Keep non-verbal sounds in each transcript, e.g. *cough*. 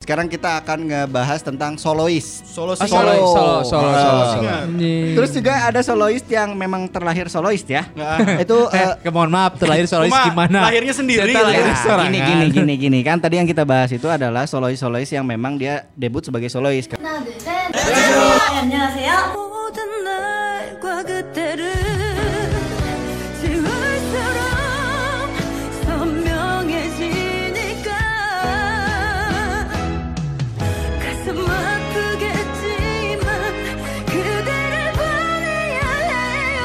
Sekarang kita akan ngebahas tentang solois. Solo Ah, sih. solo. Solo. Oh, solo, solo, solo, Ah. solo. Anjing. Terus juga ada solois yang memang terlahir solois ya. *laughs* Itu eh, eh, ke- mohon maaf terlahir solois Cuma gimana? lahirnya sendiri, Ternyata lahirnya Ya, seorang. gini gini gini gini kan tadi yang kita bahas itu adalah solois-solois yang memang dia debut sebagai solois. 하나 둘셋 네, 안녕하세요 모든 날과 그때를 지울 수록 선명해지니까 가슴 아프겠지만 그대를 보내야 해요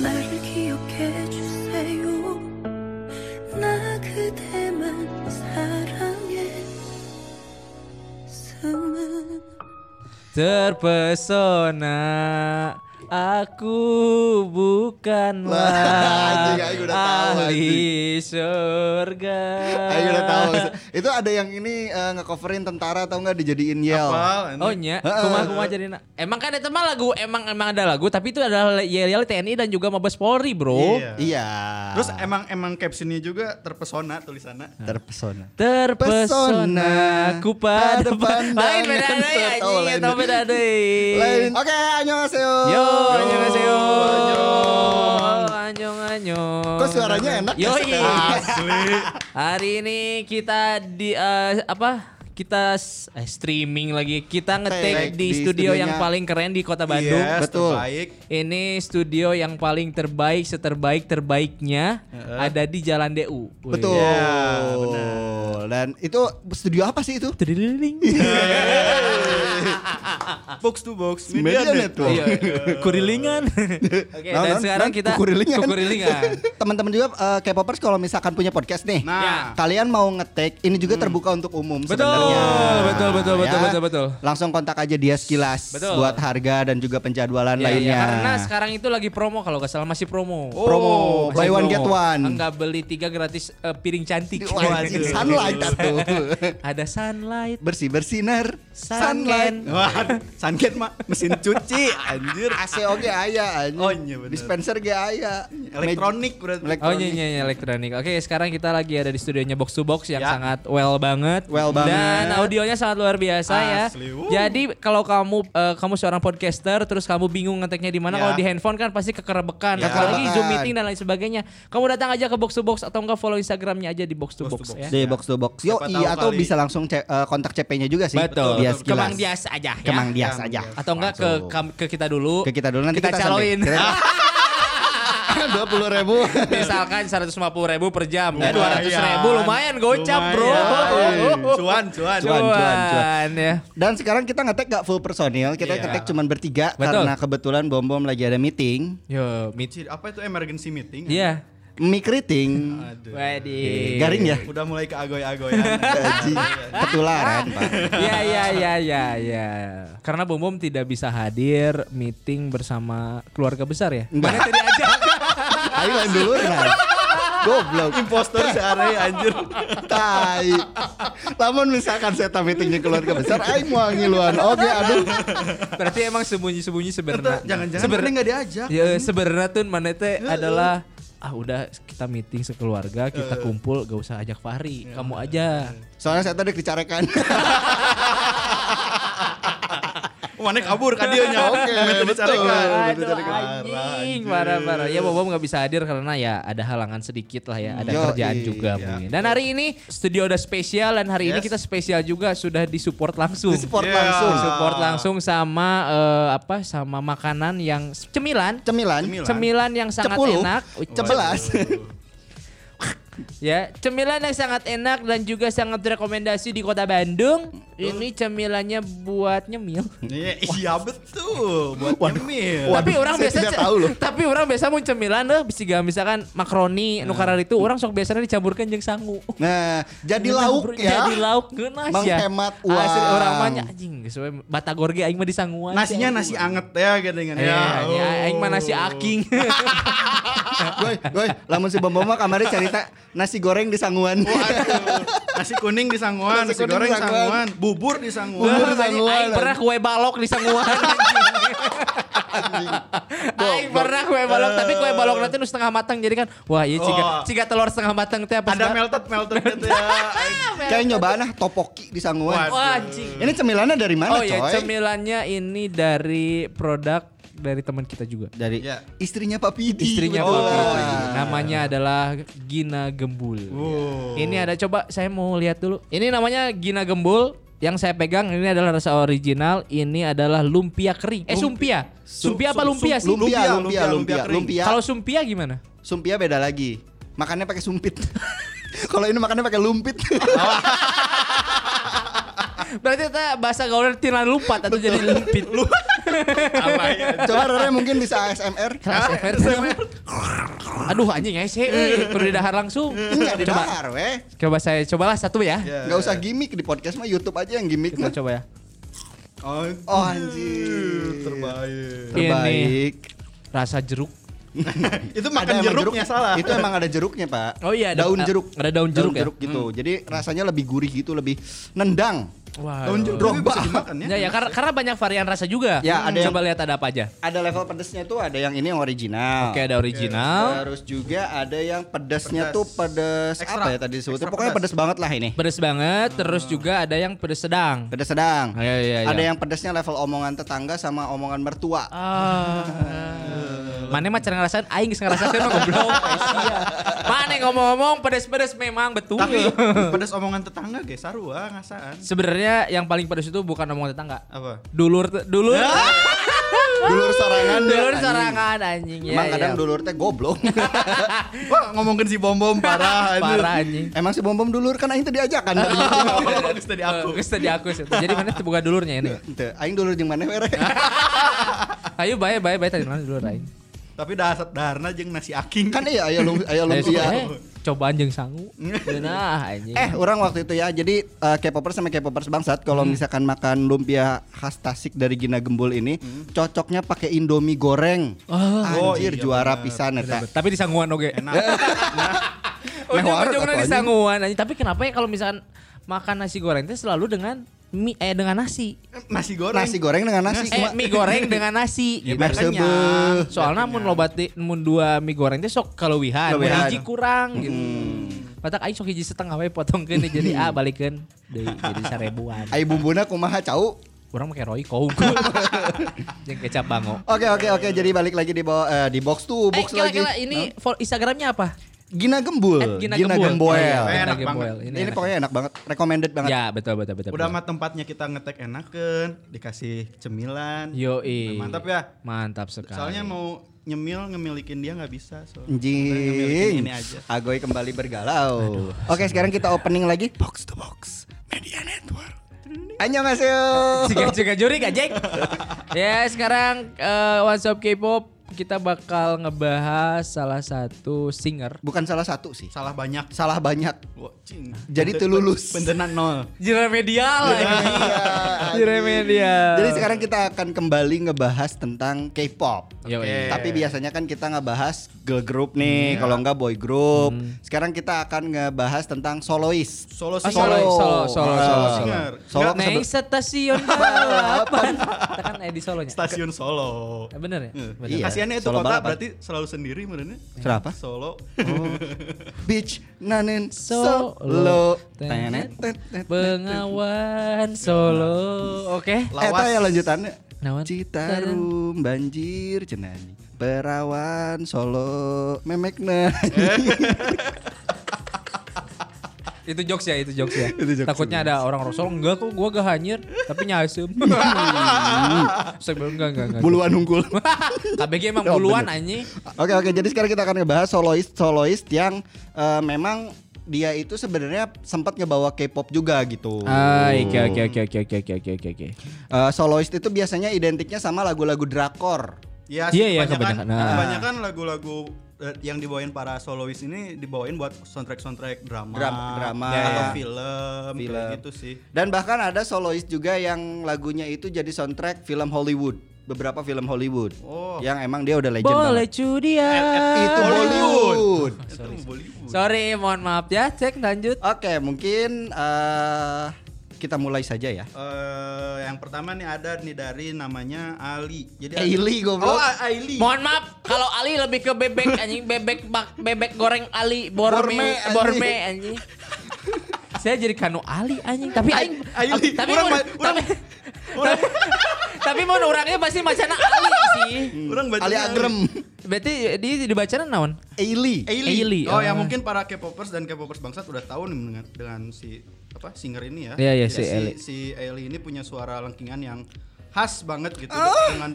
나를 기억해 주세요 나 그대만 사랑했음은 Terpesona aku bukanlah Anjing, Aing udah tahu, ahli surga. Ayo udah tahu. Itu ada yang ini eh, ngecoverin tentara atau enggak dijadiin yel. Apal, anjing. Oh nya, kumah kumah jadi na- Emang kan itu mah lagu, emang emang ada lagu, tapi itu adalah yel-yel TNI dan juga Mabes Polri, bro. Iya. Iya. Terus emang emang captionnya juga terpesona tulisannya. terpesona. Terpesona ku pada pada pan- lain beda pandangan deui serta anjing lain. eta beda deui. Lain. Oke, annyeonghaseyo. Yo, annyeonghaseyo. Annyeong. Anjong anjong. Kok suaranya enak ya Yo. sekarang? Hari ini kita di eh, apa? Kita s- eh, streaming lagi. Kita Take ngetek di di studio yang studionya. paling keren di Kota Bandung. Yes, betul. Terbaik. Ini studio yang paling terbaik seterbaik terbaiknya ada di Jalan DU. Wih. Betul. Iya, Dan itu studio apa sih itu? Tridililing. *laughs* Box to box. Media net. Network. Iya, kurilingan. *laughs* Oke, Nah, dan nah, sekarang nah, kita kukurilingan. *laughs* kukurilingan. *laughs* Teman-teman juga eh, K-popers kalau misalkan punya podcast nih. Nah, Ya. Kalian mau ngetek, ini juga terbuka untuk umum Hmm. Betul, sebenarnya. Ya. betul, betul, betul, betul, betul. Langsung kontak aja dia sekilas Betul. buat harga dan juga penjadwalan Ya, lainnya. ya, karena sekarang itu lagi promo kalau nggak salah masih promo. Oh, promo masih buy one promo. get one. Enggak beli tiga gratis eh, piring cantik. Wah, anjing, sunlight *laughs* satu. Ada sunlight, Bersih bersinar sunlight. sunlight. Wah, sanket mah mesin cuci anjir. AC oge aya anjing. Oh, iya, bener. Dispenser ge aya. Elektronik berarti. Elektronik. Oh iya iya iya, elektronik. Oke, sekarang kita lagi ada di studionya Box to Box yang Ya. sangat well banget. Well Dan banget. audionya sangat luar biasa Asli, ya. wuh. Jadi kalau kamu eh, kamu seorang podcaster terus kamu bingung ngeteknya di mana Ya. kalau di handphone kan pasti kekerebekan. Ya. Apalagi Kekerebekan. Zoom meeting dan lain sebagainya. Kamu datang aja ke Box to Box atau enggak follow Instagramnya aja di Box to Box Box, to Box. ya. Di box to box. Yo, Siapa tahu iya atau kali. bisa langsung ce- eh, kontak CP-nya juga sih. Betul. Dia Ke Mang sekilas. Dias aja ya. Kemang Dias Kemang aja. Dias. Atau enggak ke, Langsung. kam- ke kita dulu. ke kita dulu nanti kita, caloin. *laughs* sampai- Dua puluh ribu. Misalkan 150 ribu per jam, Lumayan. 200 iya. ribu lumayan gocap bro. iya. Lumayan. Cuan, cuan. Cuan, cuan, cuan. ya. Dan sekarang kita ngetek gak full personil, kita Iya. ngetek cuman bertiga Betul. karena kebetulan Bom Bom lagi ada meeting, Yo, meet. Anjir, apa itu emergency meeting? Iya. mikriting, Aduh. Wedi. garing ya. Udah mulai ke agoy-agoyan. Gaji. Ketularan, Pak. Ya ya ya ya ya. Karena Bom Bom tidak bisa hadir meeting bersama keluarga besar ya. Enggak. Mana tadi aja. Ayo lain dulu nah. Goblok. Impostor sehari anjir. Tai. Lamun misalkan saya tak meetingnya keluarga besar, aing mau ngiluan. Oke, aduh. Berarti emang sembunyi-sembunyi sebenarnya. Jangan-jangan mana nggak diajak. Ya sebenarnya tuh mana teh adalah ah udah kita meeting sekeluarga kita kumpul gak usah ajak Fahri Iya. kamu aja Soalnya saya tadi dicarekan. *laughs* Oh, mana kabur kan dia *laughs* nya. Oke, Momentum betul. dicarekan. Momentum Aduh dicarekan. anjing parah-parah Ya Bobom gak bisa hadir karena ya ada halangan sedikit lah ya Ada Yoi. kerjaan juga Iya. mungkin Dan hari ini studio udah spesial Dan hari Yes. ini kita spesial juga sudah disupport langsung Support Iya. langsung. Support langsung sama eh, apa sama makanan yang cemilan Cemilan. Cemilan. Cemilan yang sangat Cepuluh. enak Cebelas. Ya, cemilan yang sangat enak dan juga sangat rekomendasi di kota Bandung Ini cemilannya buat nyemil *laughs* Iya, Iya betul. Buat nyemil. tapi orang saya biasa tidak tahu loh. tapi orang biasa mau cemilan deh bisiga misalkan Hmm. makaroni nu karar itu orang sok biasanya dicampurkan jeung sangu Nah, jadi lauk ya. jadi lauk geunas ya Menghemat uang. Asli orang mah nya, anjing geus we batagor ge aing mah disanguan Nasinya nasi anget ya gedengan Eh, ya. anjing, oh. aing mah nasi *laughs* aking Woi, woi, lamun si Bom Bom mah kamari cerita nasi goreng di sanguan. Waduh. Nasi kuning di sanguan, Nasi nasi kuning goreng di di sanguan. sanguan, bubur di sanguan. Anjing, aing pernah kue balok di sanguan anjing. Anjing. Aing pernah kue balok, tapi kue balok nanti nu setengah matang jadi kan, wah iya ciga, Oh. Wah. ciga telur setengah matang teh apa Ada segala- melted melted gitu ya. Kayak nyobaan ah topoki di Sanguan. Wah anjing. Ini cemilannya dari mana Oh coy? ya cemilannya ini dari produk dari teman kita juga. dari Iya. istrinya Pak Nah, Pidi. Istrinya Iya, betul. Pak Pidi. Namanya adalah Gina Gembul. Wow. Ini ada coba saya mau lihat dulu. Ini namanya Gina Gembul. Yang saya pegang ini adalah rasa original. Ini adalah lumpia kering. Eh sumpia. Sumpia apa lumpia sih? Lumpia, lumpia, Lumpia, lumpia, lumpia, lumpia kering. lumpia. Kalau sumpia gimana? Sumpia beda lagi. Makannya pakai sumpit. *laughs* Kalau ini makannya pakai lumpit. *laughs* Berarti kita bahasa gaulnya tilan lumpat atau jadi *laughs* lumpit. Apa ya? Coba Rere mungkin bisa ASMR. Kelas FR. ya, Aduh anjing ya sih, perlu didahar langsung. Enggak di Coba, dahar, weh. coba saya cobalah satu ya. Enggak usah gimmick di podcast mah YouTube aja yang gimmick Kita mah. coba ya. Oh anjir. Iya Terbaik. Terbaik. Rasa jeruk. Itu Ada makan emang jeruknya salah. Itu emang ada jeruknya, Pak. Oh iya, ada- daun ada- jeruk. ada daun jeruk ya? gitu. Jadi rasanya lebih gurih gitu, lebih nendang. Wah. iya. Daun jeruk Drogba. juga bisa dimakan ya. Ya, ya karena, karena banyak varian rasa juga. Hmm, Ya, ada coba lihat ada apa aja. Ada level pedesnya tuh ada yang ini yang original. Oke, ada original. Terus juga ada yang pedesnya Pedas. tuh pedes Ekstra. apa ya tadi sebutnya? Ekstra Pokoknya pedes pedas. banget lah ini. Pedes banget, terus juga ada yang pedes sedang. Pedes sedang. Ah, iya, iya, iya. Ada yang pedesnya level omongan tetangga sama omongan mertua. Ah. Mana mah cara ngerasain aing geus ngerasakeun mah *laughs* goblok. Iya. Mana ngomong-ngomong pedes-pedes memang betul. *laughs* Tapi pedas omongan tetangga guys, sarua ngasaan. Sebenarnya yang paling pedes itu bukan omongan tetangga. Apa? Dulur dulur. Ya, Dulur sorangan ya, *laughs* dulur anjing. sorangan anjing ya. Emang kadang ya. dulur teh goblok. *laughs* Wah, ngomongin si bom bom parah. anjing. *laughs* parah anjing. Emang si bom bom dulur kan aing teh *laughs* diajakan. Oh, geus tadi aku. Geus tadi aku. Eh, sih. Jadi mana teu buka dulurnya ini? Teu, aing dulur jeung maneh *laughs* were. Ayo bae bae bae tadi mana dulur aing. Tapi dasar darna jeung nasi aking Kan iya aya lum aya Dari lumpia. eh, cobaan jeung sangu. Nah, anjing. Eh, orang waktu itu ya. Jadi eh, K-popers sama K-popers bangsat kalau Hmm. misalkan makan lumpia khas Tasik dari Gina Gembul ini cocoknya pakai Indomie goreng. Hmm. Oh, Anjir iya juara bener. pisan eta. tapi di sanguan oge. enak. Ujung-ujungnya warteg di anjing. sanguan anjing. Tapi kenapa ya kalau misalkan makan nasi goreng itu selalu dengan mie eh dengan nasi. Nasi goreng. Nasi goreng dengan nasi. Eh cuma- mie goreng dengan nasi. Ya, gitu. biar Maksud kenyang. bu. Soalnya mun loba ti- mun dua mie goreng teh sok kalewihan, mun Kalewihan. hiji kurang gitu. Batak aing sok hiji setengah wae potongkeun nih, jadi ah balikeun deui jadi sarebuan. Ai bumbuna kumaha cau. Orang make roi kau Jeung kecap bango. Oke oke oke jadi balik lagi di bawah, eh, di box tuh Eh, box lagi. kira-kira ini fol- Instagramnya apa? Gina Gembul. At Gina Gembul. Gemboel. Iya, Enak Gina banget. Gemboel. Ini, Ini, enak. pokoknya enak banget, recommended banget. Ya, betul betul betul. Udah betul. mah tempatnya kita ngetek enakan, dikasih cemilan. Yoi. Mantap ya. Mantap sekali. Soalnya mau nyemil ngemilikin dia nggak bisa. Soalnya. Udah ngemilikin Anjing. Ini aja. Agoy kembali bergalau. Oke, sekarang kita opening lagi. Box to box Media Network. Annyeonghaseyo. Ciga ciga jurik ajek. ya sekarang eh, One Stop K-pop kita bakal ngebahas salah satu singer. Bukan salah satu sih. Salah banyak. Salah banyak. Wah, cing. Jadi Benten- tuh lulus. Bentenan nol. Jira medial. Jira medial. Jadi sekarang kita akan kembali ngebahas tentang K-pop. Yoi. Tapi biasanya kan kita ngebahas girl group nih, kalau enggak boy group. Sekarang kita akan ngebahas tentang soloist. Oh, Solo Ah, singer. solo, solo, solo, Ah. solo, solo. Singer. Solo Naik sebe- stasiun balapan. Kita kan eh, di solonya. Stasiun Solo. Eh, Bener ya? Eh, Bener. Iya. Kasiannya itu Solo kota balapan. berarti selalu sendiri menurutnya. Kenapa? *laughs* Solo. Oh. Beach nanen Solo. solo. Tenet. Bengawan Solo. Oke. Eta ya lanjutannya. Naon? Citarum banjir cenani. Perawan Solo memekna. Itu jokes ya, itu jokes ya. Itu jokes, Takutnya ada orang rosol enggak kok gua gak hanyir, tapi nyasem. *laughs* Saya bilang enggak enggak enggak. *laughs* Buluan unggul. KBG emang *laughs* Oh, buluan bener. anjing. Oke oke jadi sekarang kita akan ngebahas soloist soloist yang eh, memang dia itu sebenarnya sempat ngebawa K-pop juga gitu. Ah. oke oke oke oke oke oke oke. Eh, soloist itu biasanya identiknya sama lagu-lagu drakor. Iya Iya, iya, kebanyakan. kebanyakan. Nah. Kebanyakan lagu-lagu eh, yang dibawain para solois ini dibawain buat soundtrack-soundtrack drama, Dram- drama. atau Iya. film, kayak Film. gitu sih. Dan bahkan ada soloist juga yang lagunya itu jadi soundtrack film Hollywood, beberapa film Hollywood. Oh. Yang emang dia udah legend Boleh banget. Eh, cudia. Itu Eh, Bollywood. Itu Bollywood. Sorry, mohon maaf ya. Cek lanjut. Oke, mungkin eh, kita mulai saja ya. Eh, ya yang pertama nih ada nih dari namanya Ali. Jadi Aili, goblok. Oh, A- Aili. Mohon maaf kalau Ali lebih ke bebek anjing bebek bak, bebek goreng Ali borme eh, Borme, borme anjing. anjing. Saya jadi kanu Ali anjing tapi aing Ali, tapi orang mun- ma- orang- tapi tapi, tapi mun orangnya pasti macana Ali sih. Orang bacanya Ali *laughs* Agrem. Berarti dia dibacana naon? Aili. Aili. Aili, Oh, ah. ya mungkin para K-popers dan K-popers bangsat udah tahu nih dengan dengan si apa singer ini ya. Iya, iya, Ya, si Aili. si Aili ini punya suara lengkingan yang khas banget gitu Ah. dengan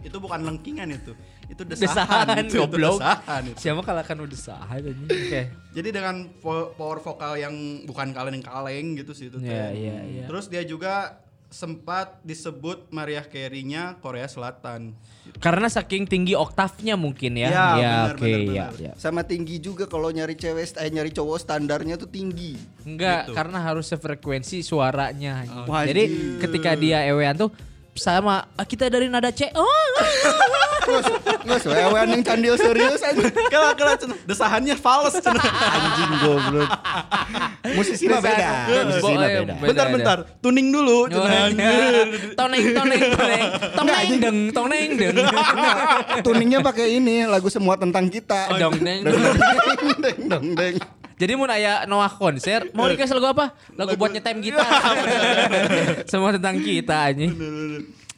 itu bukan lengkingan itu. Itu desahan, gitu, Desahan itu, itu goblok. desahan itu. Siapa kalah kanu desahan anjing. Oke. Jadi dengan vo- power vokal yang bukan kaleng-kaleng gitu sih itu teh. Iya, iya, iya. Terus dia juga sempat disebut Mariah Carey-nya Korea *laughs* Selatan. Karena saking tinggi oktavnya mungkin ya. Ya, benar, oke benar, ya, benar. ya. Sama tinggi juga kalau nyari cewek, eh nyari cowok standarnya tuh tinggi. Enggak, Gitu. Oh, karena harus sefrekuensi suaranya. anjing. Wah, Jadi anjing. ketika dia ewean tuh sama "Ah, kita dari nada C. Oh, ah." Terus, terus wewean yang candil serius aja. Kalau kalau cen- desahannya fals. *laughs* cen. Anjing goblok. Musisi mah beda. Musisi mah Bo- beda. eh, Bentar-bentar, tuning dulu. cen. *laughs* Gitu. Toneng toneng toneng. Toneng deng, toneng deng. Tuningnya pakai ini lagu semua tentang kita. Dong deng. dong deng dong deng. Jadi mau aya Noah konser, mau dikasih lagu apa? Lagu buat nyetem *laughs* gitar. Semua tentang kita anjing.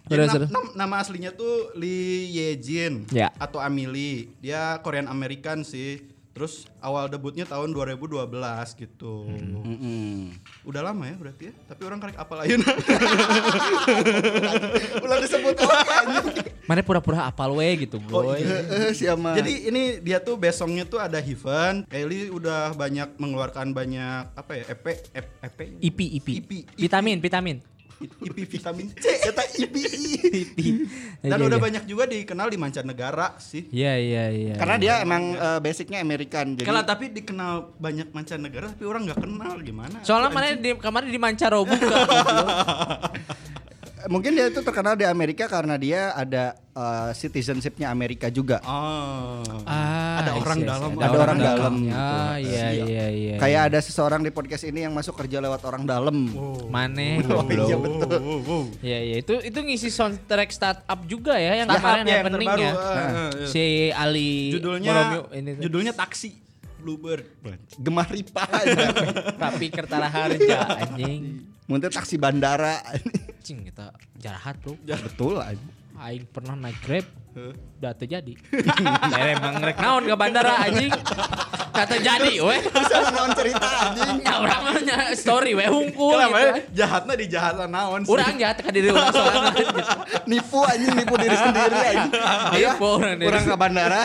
Jadi Terus, na- terus. Iya, nam- nama aslinya tuh Lee Yejin Ya. atau Amili. Dia Korean American sih. Terus awal debutnya tahun 2012 gitu. Hmm. Udah lama ya berarti ya. Tapi orang karek apal ayeuna. Ulah disebut oke anjing. Mana pura-pura apal we gitu, *laughs* Oh, boy. iya. Eh, siapa? Jadi ini dia tuh besongnya tuh ada Heaven. Kylie udah banyak mengeluarkan banyak apa ya? EP EP EP IP IP. IP. Vitamin, vitamin. EP vitamin *laughs* C. kata IPI. Dan Iya, udah iya. banyak juga dikenal di mancanegara sih. Iya, iya, iya. Karena dia emang eh, basicnya American jadi. Kalau tapi dikenal banyak mancanegara tapi orang nggak kenal gimana? Kan- Soalnya mana di, kemarin di Mancara buka. *laughs* Eh, Mungkin dia itu terkenal di Amerika karena dia ada eh, citizenship-nya Amerika juga. Oh. ah, Ada I see, orang I see. dalam, ada orang dalam gitu. Ah, iya, iya, iya. Kayak ada seseorang di podcast ini yang masuk kerja lewat orang dalam. Mane. Oh. Iya, goblok. betul. Iya, iya. Itu itu ngisi soundtrack startup juga ya yang Startup ya, kemarin yang happening terbaru, ya. ah, ah, iya. Si Ali Judulnya Boromeo ini tuh. *laughs* judulnya taksi Bluebird. Gemah ripa aja. Tapi Kertara Harja anjing. Muntah taksi bandara. Cing kita jarahat, Bro. betul aja. Aing pernah naik Grab. Udah terjadi. *laughs* Mere mangrek naon ke bandara anjing. Udah terjadi *laughs* weh. Bisa nonton cerita anjing. Ya orang mah nya story weh hungkul Kalau gitu. mana ya? jahatnya di jahatan naon sih? *laughs* Orang jahat ke diri orang soalnya. Nipu anjing, nipu diri sendiri anjing. Iya, orang diri. Kurang ke bandara.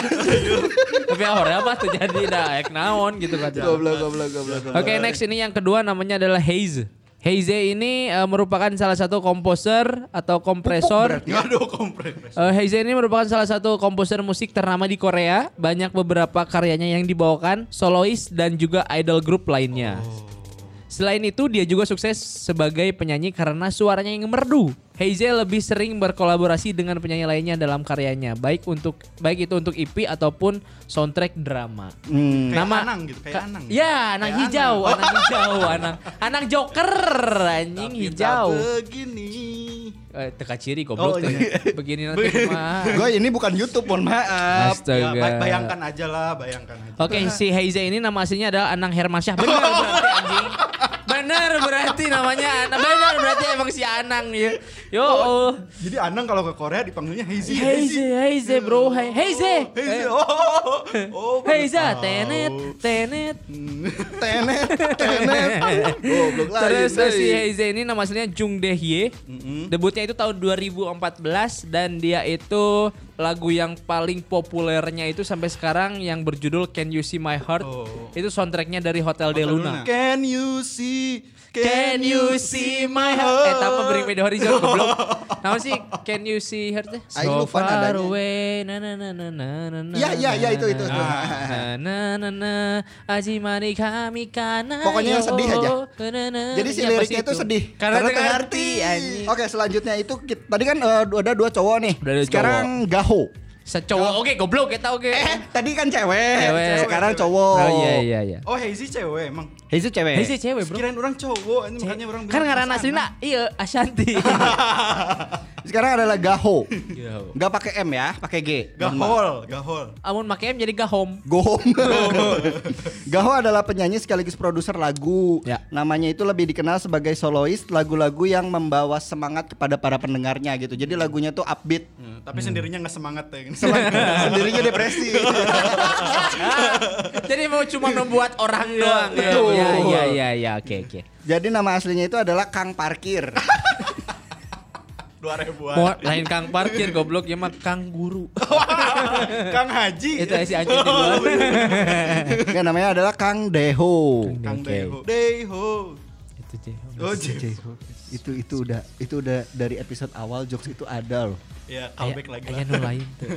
Tapi orang apa tuh jadi daek naon gitu kan. goblok goblok goblok. goblok. Oke next ini yang kedua namanya adalah Haze. Haze ini eh, merupakan salah satu komposer atau kompresor. Aduh kompres. Eh, Haze ini merupakan salah satu komposer musik ternama di Korea. Banyak beberapa karyanya yang dibawakan solois dan juga idol grup lainnya. Selain itu dia juga sukses sebagai penyanyi karena suaranya yang merdu. Heize lebih sering berkolaborasi dengan penyanyi lainnya dalam karyanya, baik untuk baik itu untuk EP ataupun soundtrack drama. Hmm. Kayak Nama- Anang gitu, kayak Ka- Anang. Ya, anak Kayak hijau, anak hijau, anak anak joker, anjing Tapi tak hijau. Begini. Eh, teka ciri Oh, goblok tuh. ya. iya. Begini nanti mah. Gue ini bukan YouTube, mohon maaf. Ya, Astaga. Oh. bay- bayangkan aja lah, bayangkan aja. Oke, si Heize ini nama aslinya adalah Anang Hermansyah. Bener berarti anjing. Bener berarti namanya Anang. Bener berarti emang si Anang ya. Yo. oh. Jadi Anang kalau ke Korea dipanggilnya Heizi. Heize, Heize bro, He- Heize. Heizi. iya Oh. oh, oh, baru Heize, tahu. tenet, tenet. Tenet, tenet. Goblok lah. iya, Terus si Heize ini nama aslinya Jung Dehye. Mm-mm. Debutnya itu tahun 2014 dan dia itu lagu yang paling populernya itu sampai sekarang yang berjudul Can You See My Heart. Oh. Itu soundtracknya dari Hotel, de Luna. Nah. Can you see? Can you see my heart? Eh, tapi bring me the horizon *laughs* goblok. Nama sih Can you see her teh? Aing So lupa far nadanya. away. Na na na na na na na. Ya, ya, ya, itu, itu. Na na na na. Ajimari kami kana. Pokoknya yang sedih aja. Jadi si liriknya itu sedih Iya, ya, Karena tengah ngerti. Oke, selanjutnya itu kita, tadi kan eh, ada dua cowok nih. Ada dua Sekarang Gaho. Secowok. Oke, goblok kita oke. Eh, tadi kan cewek. Cewek. Sekarang Cewek. cowok. Oh iya iya iya. Oh Hazy cewek emang. Hazy cewek. Ini sih cewek, Bro. Kirain orang cowok, ini makanya orang Kan bilang ngaran pasangan. aslinya iya *laughs* Ashanti. Sekarang adalah Gaho. Gaho. Gak pakai M ya, pakai G. Gahol, gahol. Amun makanya jadi gahom. Gohom. *laughs* Gaho adalah penyanyi sekaligus produser lagu. Ya. Namanya itu lebih dikenal sebagai solois lagu-lagu yang membawa semangat kepada para pendengarnya gitu. Jadi lagunya tuh upbeat. Nah, tapi Hmm. sendirinya nggak semangat ya. *laughs* Sendirinya depresi. jadi mau cuma membuat orang doang. ya. betul. Iya iya iya iya oke oke. *laughs* Jadi nama aslinya itu adalah Kang Parkir. Dua ribuan. Mau lain Kang Parkir goblok ya mah Kang Guru. *laughs* Kang Haji. Oh, iya. eh. *laughs* Itu si anjing di luar. Yang Ya, namanya adalah Kang Deho. Kang Oke. Deho. Deho. Itu sih. Oh, Jim. Itu itu udah itu udah dari episode awal jokes itu ada loh. Ya, comeback lagi lah. Aya nu lain tuh.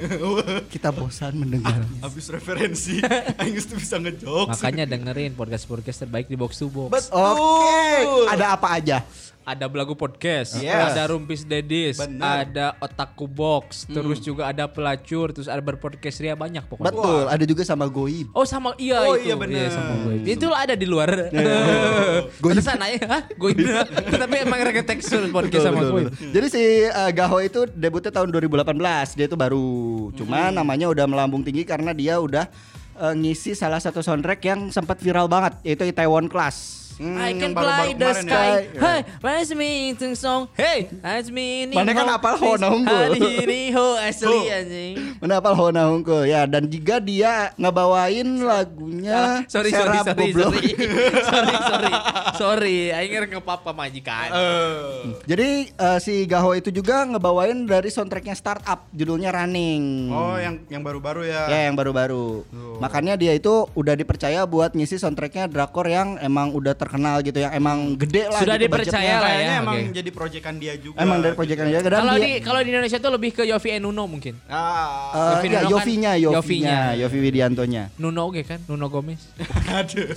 Kita bosan mendengarnya. Abis *laughs* referensi, *laughs* Aing tuh bisa ngejokes. Makanya dengerin podcast-podcast terbaik di box to box. Betul. Oke, ada apa aja? ada belagu podcast, Yes. ada rumpis dedis, Bener. ada otaku box, terus juga ada pelacur, terus ada berpodcast ria banyak pokoknya. Betul, ada juga sama Goib. Oh sama iya Oh, itu. iya, bener. sama gue. Itu lah ada di *laughs* luar. Goib. Pantesan aja, hah? Gue *laughs* Tapi emang ada tekstur podcast Betul, sama betul, gue. betul. Jadi si eh, Gaho itu debutnya tahun 2018. Dia itu baru. Cuma namanya udah melambung tinggi karena dia udah eh, ngisi salah satu soundtrack yang sempat viral banget yaitu Itaewon Class. Hmm, I can yang baru-baru fly the kemarin ya. sky. ya. Hey, where's me sing song? Hey, where's me Mana kan apal Ho Naung Go. Hari ho asli Ho. anjing. Menapal Hona Hongko ya dan juga dia ngebawain lagunya Ah, sorry, sorry, Serap sorry, Goblok. sorry, sorry, sorry, sorry, Aing ke papa majikan. Eh, *laughs* Jadi eh, si Gaho itu juga ngebawain dari soundtracknya startup judulnya Running. Oh, yang yang baru-baru ya. Ya yang baru-baru. Tuh. Makanya dia itu udah dipercaya buat ngisi soundtracknya drakor yang emang udah terkenal gitu, yang emang gede lah. Hmm. Sudah gitu dipercaya budgetnya. lah Kayaknya ya. emang oke. jadi proyekan dia juga. Emang dari proyekan dia. Dan Kalau dia, di kalau di Indonesia tuh lebih ke Yofi and Nuno mungkin. Ah, eh, Yofi iya, Nuno kan- Yofinya, Yofinya, Yofinya. Yofi Widiantonya. Nuno oke kan? Nuno Gomez. *laughs* aduh.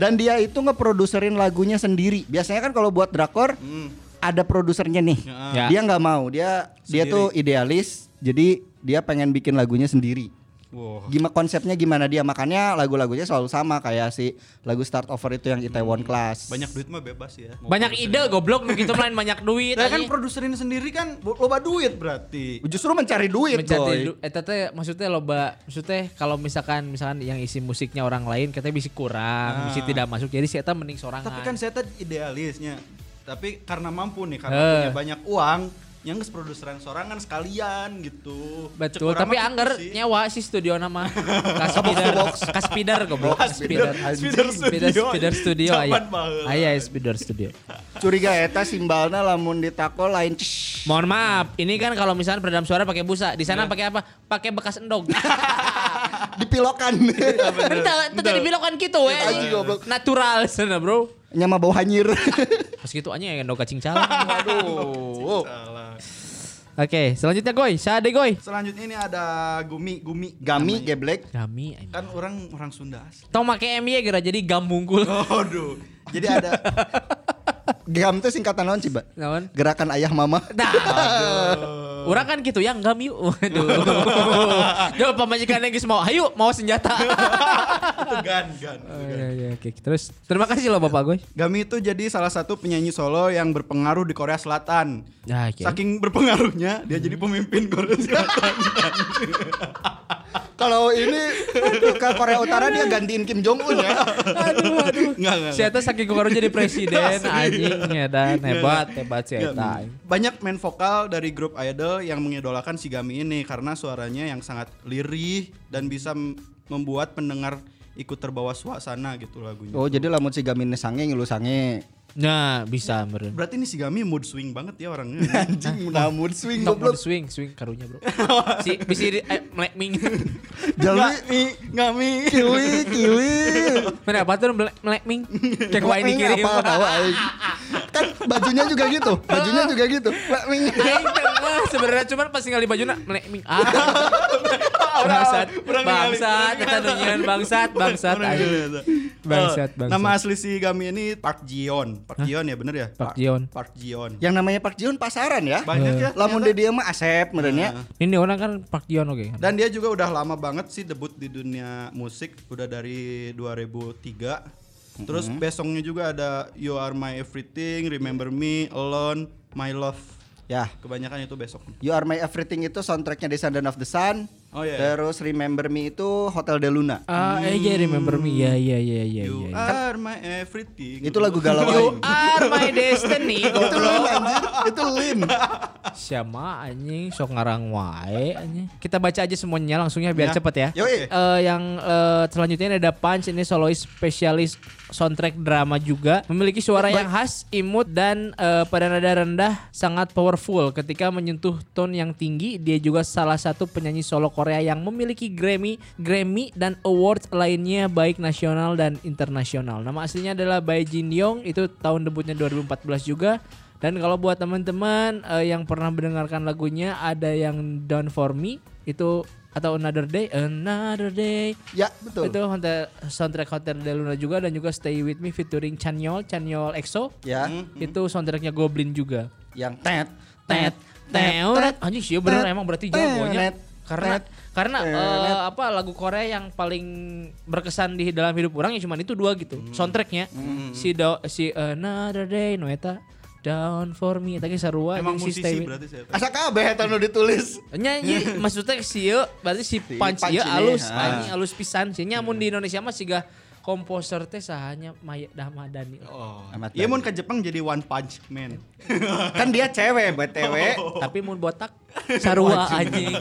Dan dia itu ngeproduserin lagunya sendiri. Biasanya kan kalau buat drakor Hmm. ada produsernya nih. Ya. Dia nggak mau, dia dia Sendiri. tuh idealis. Jadi dia pengen bikin lagunya sendiri. Wow. Gimana konsepnya gimana dia makanya lagu-lagunya selalu sama kayak si lagu Start Over itu yang Itaewon Class. Hmm. Banyak duit mah bebas ya. Mau Banyak produserin. ide goblok nu gitu main banyak duit. Lah kan anjing. produserin sendiri kan bo- loba duit berarti. Justru mencari duit, Mencari Boy. du- eta teh maksudnya loba maksudnya kalau misalkan misalkan yang isi musiknya orang lain katanya bisa kurang, bisa tidak masuk. Jadi si eta mending Ah. sorangan. Tapi kan saya tadi idealisnya. Tapi karena mampu nih, karena Eh. punya banyak uang, yang nges produseran sorangan sekalian gitu. Betul, tapi anggar nya nyewa sih studio nama. Kaspider, Kaspider goblok. Kaspider, Spider Spider, Studio. Spider Studio iya. Zaman aya. baheula. Aya Spider Studio. Curiga eta simbalna lamun ditako lain. Csh. Mohon maaf, ini kan kalau misalnya peredam suara pakai busa, di sana pakai apa? Pakai bekas endog. *laughs* Dipilokan. Entah, itu jadi bilang kan gitu we. Aji, goblok. Natural *laughs* sana, Bro. Nyama bau hanyir. Pas gitu anjing yang endog kacing calon. Aduh. Salah. Oke, selanjutnya Goy, Sade Goy. Selanjutnya ini ada Gumi, Gumi. Gami namanya. geblek. Kami anjing. Kan orang orang Sunda asli. *laughs* Tong make MY gara jadi gambungkul. Oh. Aduh. Jadi *laughs* ada Gam itu singkatan naon sih, Mbak? Naon? *laughs* Gerakan ayah mama. Nah, orang kan gitu ya enggak miu. *laughs* Waduh. Jauh pemajikan yang mau, ayo mau senjata. itu gan gan. Oh, iya, iya, oke. Terus terima kasih loh Bapak gue. Gami itu jadi salah satu penyanyi solo yang berpengaruh di Korea Selatan. Nah, oke. Saking berpengaruhnya, dia jadi pemimpin Korea Selatan. Kalau ini ke Korea Utara dia gantiin Kim Jong Un ya. Aduh, aduh. *laughs* Enggak, enggak. Si Eta saking kemarin jadi presiden anjing ya dan hebat hebat si Iya, Eta. hmm. Banyak main vokal dari grup idol yang mengidolakan si Gami ini karena suaranya yang sangat lirih dan bisa m- membuat pendengar ikut terbawa suasana gitu lagunya. Oh, jadi lamun si Gami ini sange ngilu sange. Nah, bisa meren. Berarti ini si Gami mood swing banget ya *laughs* orangnya. Nah, Anjing namun swing Tok mau goblok. swing, swing karunya bro. Si bisa di eh, melek ming. Jalmi Gami, Gami. kiwi kiwi. Mana apa tuh melek melek ming? Kayak kuain Ini dikirim. apa tahu aing. Kan bajunya juga gitu. Bajunya juga gitu. Lak, ming. Iya, Aing tengah sebenarnya cuman pas tinggal di baju nak melek ming. Ah. bangsat, *laughs* Orang ningali, bangsat, orang kita nunjukin bangsat, bangsat, Orang aja. gitu, gitu. Bangsat, Eh, bangsat. Nama asli si Gami ini Park Jion. Park Jion ya bener ya? Park Eh. Jion. Park Jion. Yang namanya Park Jiun pasaran ya. Banyak ya. Lamun ternyata. di dia mah Asep ya. merenya. Ini orang kan Park Yeon oke. Dan dia juga udah lama banget sih debut di dunia musik, udah dari 2003. Terus Mm-hmm. besoknya juga ada You Are My Everything, Remember Me, Alone, My Love. Ya. Kebanyakan itu besok. You Iya, Are My Everything itu soundtracknya Descendant of the Sun. Oh, iya. Terus Remember Me itu Hotel de Luna. Ah, eh yeah, remember me. Ya ya ya ya You ya. Are My Everything. Itu lagu galau Oh, You aing. Are my destiny. goblok. Itu Lim. Siapa anjing sok ngarang wae anjing. Kita baca aja semuanya langsungnya biar Ya. cepet ya. Yoi. Eh, yang eh, selanjutnya ini ada Punch ini solois spesialis soundtrack drama juga memiliki suara yang khas, imut dan eh, pada nada rendah sangat powerful ketika menyentuh tone yang tinggi. Dia juga salah satu penyanyi solo Korea yang memiliki Grammy, Grammy dan awards lainnya baik nasional dan internasional. Nama aslinya adalah Bae Jin Yong itu tahun debutnya 2014 juga. Dan kalau buat teman-teman eh, yang pernah mendengarkan lagunya ada yang Down For Me itu atau Another Day, Another Day. Ya, betul. Itu Hotel- soundtrack Hotel de Luna juga dan juga Stay With Me featuring Chanyol, Chanyol EXO. Ya. Itu soundtracknya Goblin juga. Yang tet Tet, teoret. Anjing sih bener emang berarti jagonya. Tet. Karena Tet. karena Tet. eh, apa lagu Korea yang paling berkesan di dalam hidup orang ya cuman itu dua gitu. Soundtracknya si Dao- si Another Day no eta Down for me, tapi sarua Emang jeung musisi si Stay With- berarti siapa? Asa kabeh eta nu ditulis. Nyanyi maksudnya si ieu berarti si punch punch ini, ah. ieu Hmm. alus, ha. anjing alus pisan sih. Nya mun di Indonesia mah siga komposer teh sahanya Maya Damadani. Oh. Amat Iya baik. mun ke Jepang jadi One Punch Man. Kan dia cewek BTW. Tapi mun botak sarua anjing.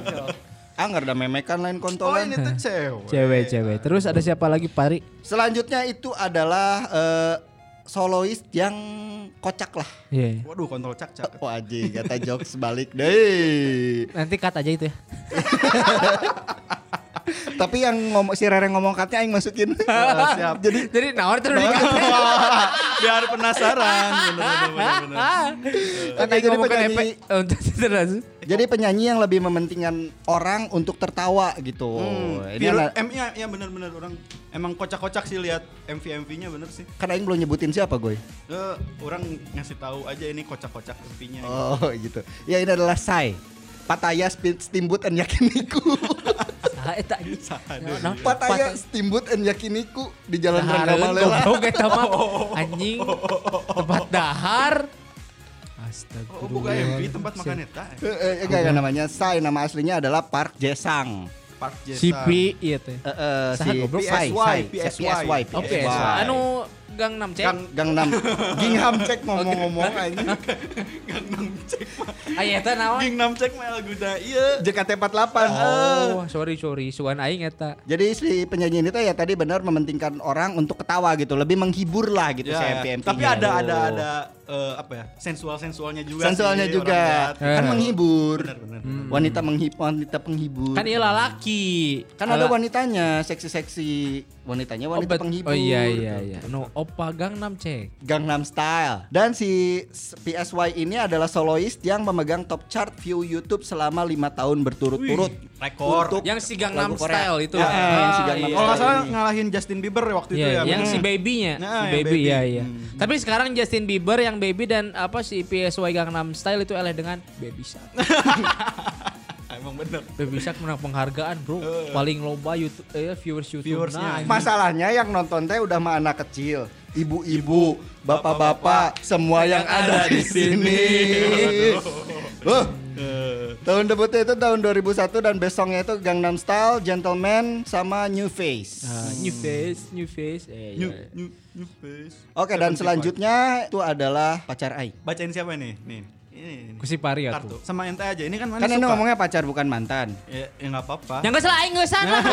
Angger udah Ah, memekan lain Oh kontolan. ini tuh cewek. Cewek-cewek. Terus ada siapa lagi Pari? Selanjutnya itu adalah eh, solois yang kocak lah. Iya. Waduh kontol cak-cak. Wajib kata jokes balik deh. Nanti cut aja itu ya. Tapi yang ngomong si Rere ngomong katnya aing masukin. siap. Jadi *laughs* Jadi nawar terus di Biar penasaran. Bener, bener, bener, *laughs* bener. Kan Oke, jadi ngomongkan penyanyi- efek untuk terus. jadi penyanyi yang lebih mementingkan orang untuk tertawa gitu. Ini Hmm. Biru, ada- M ya, ya bener-bener orang emang kocak-kocak sih lihat MV-MV-nya bener sih. kan aing belum nyebutin siapa gue. Eh, orang ngasih tahu aja ini kocak-kocak MV-nya. Oh gitu. Ya ini adalah Sai. Pataya Speed Steamboat and Yakiniku. *laughs* Saha eta anjing. Nah, nah, Pataya Steamboat and Yakiniku di Jalan Dahar Rangga Malela. Nah, goblok eta mah Oh. anjing. Tempat dahar. Astaga. Oh, buka MV tempat makan eta. *laughs* Eh, eh, enggak, enggak namanya Sai, nama aslinya adalah Park Jesang. Park Jae-san. CP iya teh. Eh, eh, Sahad goblok. Sai, PSY, Sai, PSY. PSY, Oh Oke, PS. Bye. Anu Gangnam Cek. Gang Gang Nam. Gingham cek ngomong-ngomong aja. Gangnam Cek mah. Aya eta Ah, iya, naon? Gangnam Cek mah iya. elguna ieu. JKT48. iya. eh. Oh, sorry sorry, suan aing eta. Jadi si penyanyi ini tuh ya tadi benar mementingkan orang untuk ketawa gitu, lebih menghibur lah gitu si Ya, MPMP. tapi ada ada ada eh, apa ya? Sensual-sensualnya juga. Oh. sensualnya sih, juga orang lihat. kan Eh. menghibur. Hmm. Bener, bener. Wanita menghibur, wanita penghibur. Kan ieu lalaki. Kan ada Lala- wanitanya, seksi-seksi. Wanitanya Oh, wanita bet- penghibur. Oh iya iya gitu. iya. No opa Gangnam Cek. Gangnam Style. Dan si s- PSY ini adalah solois yang memegang top chart view YouTube selama lima tahun berturut-turut. Rekor. Untuk Yang si lagu Gangnam Korea. Style itu. Ya, Ah, yang si Gangnam iya. Kalau nggak Style salah ini. ngalahin Justin Bieber waktu itu Iya, ya. yang bener. si babynya, Nah, si yang baby, baby. Hmm. ya iya. Tapi sekarang Justin Bieber yang baby dan apa si PSY Gangnam Style itu eleh dengan Baby Shark. *laughs* Ah, Emang bener. baby Shark menang penghargaan, Bro. Paling loba YouTube eh, viewers YouTube. Nah, Viewersnya. anjing. Masalahnya yang nonton teh udah mah anak kecil, ibu-ibu, bapak-bapak, semua yang ada di sini. Huh. Eh, Tahun debutnya itu tahun 2001 dan besoknya itu Gangnam Style, Gentleman, sama New Face. Ah, new face, new face. Eh, New, iya. new, new face. Oke dan 75. selanjutnya itu adalah pacar Aing. Bacain siapa nih? Nih. Ini, ini. Ku si Pari ya Kartu. tuh. Sama ente aja. Ini kan mana Kan ini suka. ngomongnya pacar bukan mantan. Ya, ya nggak apa-apa. Yang gak salah aing geusan lah.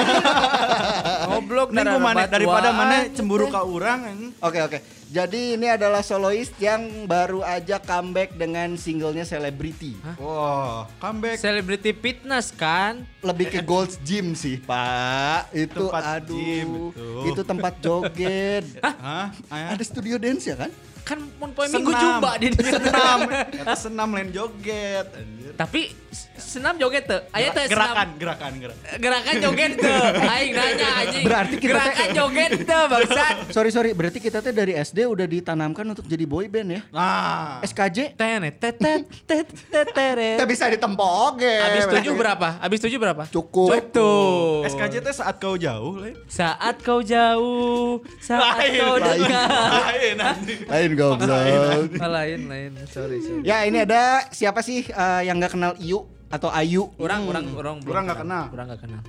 *laughs* Goblok Ini darah gua mana batuan. daripada mana eh. cemburu ke orang ini. Oke oke. Jadi ini adalah solois yang baru aja comeback dengan singlenya Celebrity. Wah, comeback. Celebrity fitness kan? Lebih ke Gold's Gym sih, Pak. Itu Tempat aduh. gym, betul. Itu tempat joget. Hah? Ayah. Ada studio dance ya kan? Kan mun poe minggu Senam. jumba *laughs* di senam Eta senam lain joget anjir. Tapi s- senam joget teu? Aya teh gerakan, senam- gerakan, gerakan. Gerakan joget teu? Aing nanya anjing. Berarti kita teh- gerakan joget teu bangsat. Sorry sorry, berarti kita teh dari SD udah ditanamkan untuk jadi boy band ya? Nah, SKJ? Tene tet tet tet tet teret. Kita bisa ditempo oge. Abis tujuh berapa? Abis tujuh berapa? iya. Cukup. Betul. SKJT saat kau jauh lain. Saat kau jauh, saat Lain, kau lain. dekat. Lain anjing. Lain goblok. Oh, lain lain. Sorry sorry. ya ini ada siapa sih eh, yang nggak kenal Iu atau Ayu? Hmm. Orang orang orang belum Orang nggak kenal. Orang nggak kenal.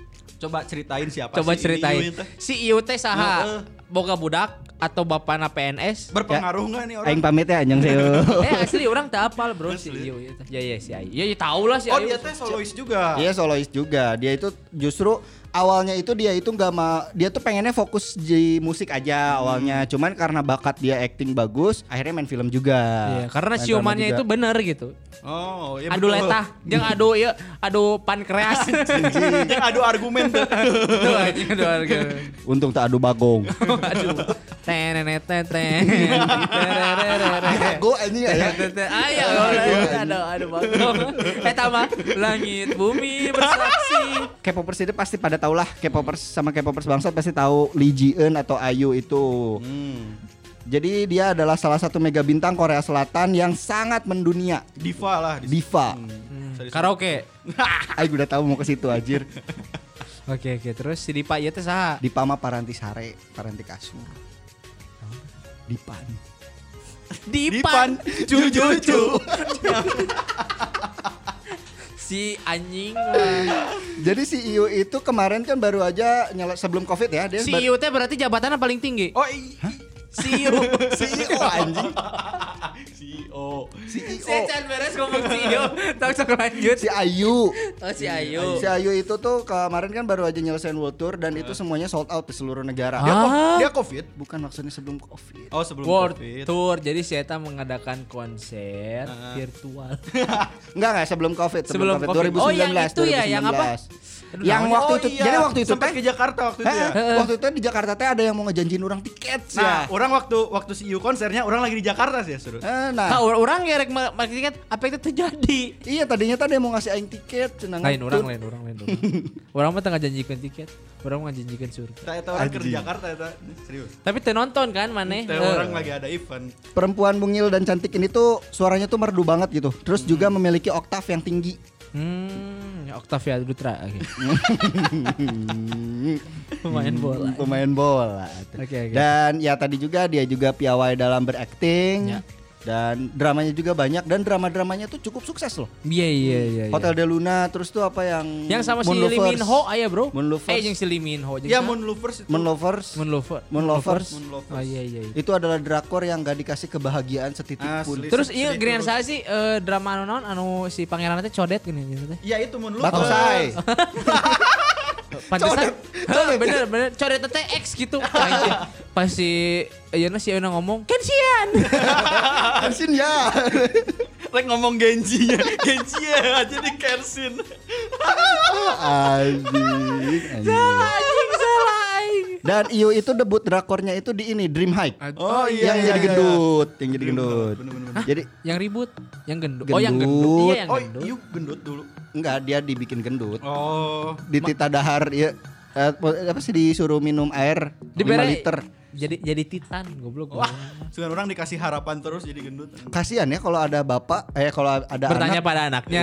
Coba ceritain siapa Coba sih ceritain. Iyu itu? Si Iu teh Heeh. saha? Boga budak atau bapana PNS? Berpengaruh nggak nih orang? Aing pamit ya anjing saya. eh asli orang tak apal bro si Asli. Iyo ya teh. ya ya si Ayu ya, ya tau lah si Oh Ayu dia teh solois juga. Dia Iya, Iya, solois juga. Dia itu justru awalnya itu dia itu nggak mau dia tuh pengennya fokus di musik aja awalnya. Hmm. Cuman karena bakat dia acting bagus, akhirnya main film juga. Iya, karena Main drama siumannya juga. itu bener gitu Oh, ya adu betul. letah jeung adu ieu adu *laughs* pankreas Yang adu argumen tuh. Tuh, anjing, adu harga. untung tak adu bagong. *laughs* aduh teneneteten Iya, Jago anjing ya. Ayah, aduh, aduh, bangkong. Eh, tambah langit bumi bersaksi. K-popers itu pasti pada tau lah K-popers sama K-popers bangsat pasti tahu Lee Ji Eun atau Ayu itu. Hmm. Jadi dia adalah salah satu mega bintang Korea Selatan yang sangat mendunia. Diva lah. di- Diva. *laughs* Hmm. Sorry, sorry. Karaoke. Ayo udah tahu mau ke situ anjir. Oke, oke. Terus si Dipa ieu teh saha? Dipa mah paranti sare, paranti kasur. Dipan. Dipan Cucu-cucu. *laughs* si anjing lah. Jadi si Iu itu kemarin kan baru aja nyala sebelum Covid ya dia Si ba- Iu teh berarti jabatannya paling tinggi. Oh, i- E Si Iu. *laughs* CEO anjing. E CEO. Si Chan beres ngomong si Iu. Tahu sok lanjut. Si Ayu. Oh si Ayu. Si Ayu itu tuh kemarin kan baru aja nyelesain World Tour dan itu semuanya sold out di seluruh negara. Dia kok- Ah. Dia Covid. Bukan maksudnya sebelum Covid. Oh, sebelum World Covid. Ah. Tour. Jadi si Eta mengadakan konser virtual. Enggak enggak sebelum Covid, Sebelum Covid. Oh, yang itu ya, yang apa? 2019. Aduh, yang namanya- waktu Oh, itu iya. jadi waktu itu sampai teh ke Jakarta waktu itu ya. Hah? waktu itu di Jakarta teh ada yang mau ngejanjiin orang tiket ya. sih. Iya. Nah, orang waktu waktu si Iu konsernya orang lagi di Jakarta sih ya suruh. Eh, Nah, nah, or- orang ngerek ma- maksudnya kan apa itu terjadi? iya tadinya tadi mau ngasih aing tiket cenah Lain ngetut. orang, lain orang, lain orang. orang mah tengah janjikan tiket, orang mah janjikan surga. Eta orang ke Anjing. Jakarta eta serius. Tapi teu nonton kan maneh? Eta Heeh. orang lagi ada event. perempuan mungil dan cantik ini tuh suaranya tuh merdu banget gitu. Terus juga memiliki oktav yang tinggi. Hmm, Octavia Dutra. *laughs* Oke. Pemain bola. Hmm, Hmm. Pemain bola. Oke, oke. Dan ya tadi juga dia juga piawai dalam berakting. Ya. Dan dramanya juga banyak dan drama-dramanya tuh cukup sukses loh. Iya iya iya. iya. Hotel de Luna terus tuh apa yang yang sama si Moonlovers. Lee Min Ho aya bro. Moonlovers. Eh yang si Lee Min Ho. jeung Ya siapa? Moon Lovers itu. Moonlovers. Moonlover. Moonlovers. Moonlovers. Oh iya iya. iya. Itu adalah drakor yang gak dikasih kebahagiaan setitik pun. Asli. Terus Sedih iya dulu. Grian saya sih eh, drama anu naon anu si pangeran teh codet gini gitu teh. Ya itu Moon Lovers. *laughs* Batosai. Pantesan. Heh, bener bener codet teh X *laughs* gitu. Anjing. Pas si Ayana si Ayana ngomong, *laughs* "Kensian." Ansin *laughs* ya. Rek ngomong Genji *laughs* ya. Genji ya aja di Kersin. Anjing. anjing. Anjing salah aing. Dan Iyo itu debut drakornya itu di ini Dream Hike. Oh yang iya, iya, jadi iya. gendut, yang jadi Dream gendut. Hike, bener-bener. Jadi Yang ribut, yang gendut. Oh, yang gendut. Gendut. Iya, yang Oh, gendut. Iu gendut dulu. enggak dia dibikin gendut. Oh. Di Tita Dahar ya eh, apa sih disuruh minum air Dibere- 5 liter. Jadi jadi titan goblok. Wah, Ah, sekarang orang dikasih harapan terus jadi gendut. Kasihan ya kalau ada bapak eh kalau ada anak. Bertanya pada anaknya.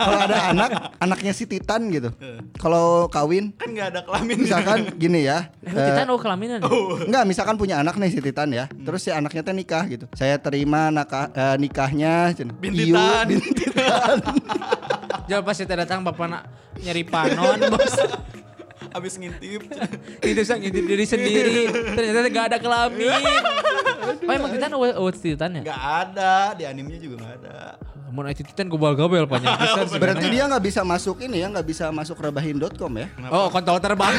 kalau ada anak, anaknya si Titan gitu. Eh. Kalau kawin Kan nggak ada kelamin. *laughs* misalkan gini ya. Eh, eh, titan oh kelaminan. Enggak, misalkan punya anak nih si Titan ya. Hmm. Terus si anaknya teh nikah gitu. Saya terima naka- eh, nikahnya cen- Bin Iyo, Titan. bin *laughs* Titan. Jangan pas kita datang bapak nak nyari panon *laughs* bos. Abis ngintip. Itu sang ngintip diri sendiri. Ternyata gak ada kelamin. Oh emang titan oh, oh titan ya? Nggak ada. Di animenya juga nggak ada. *laughs* Mau itu titan gue gabel banyak pisan Berarti sebenarnya. dia nggak bisa masuk ini ya, nggak bisa masuk rebahin.com ya. Oh kontol terbang.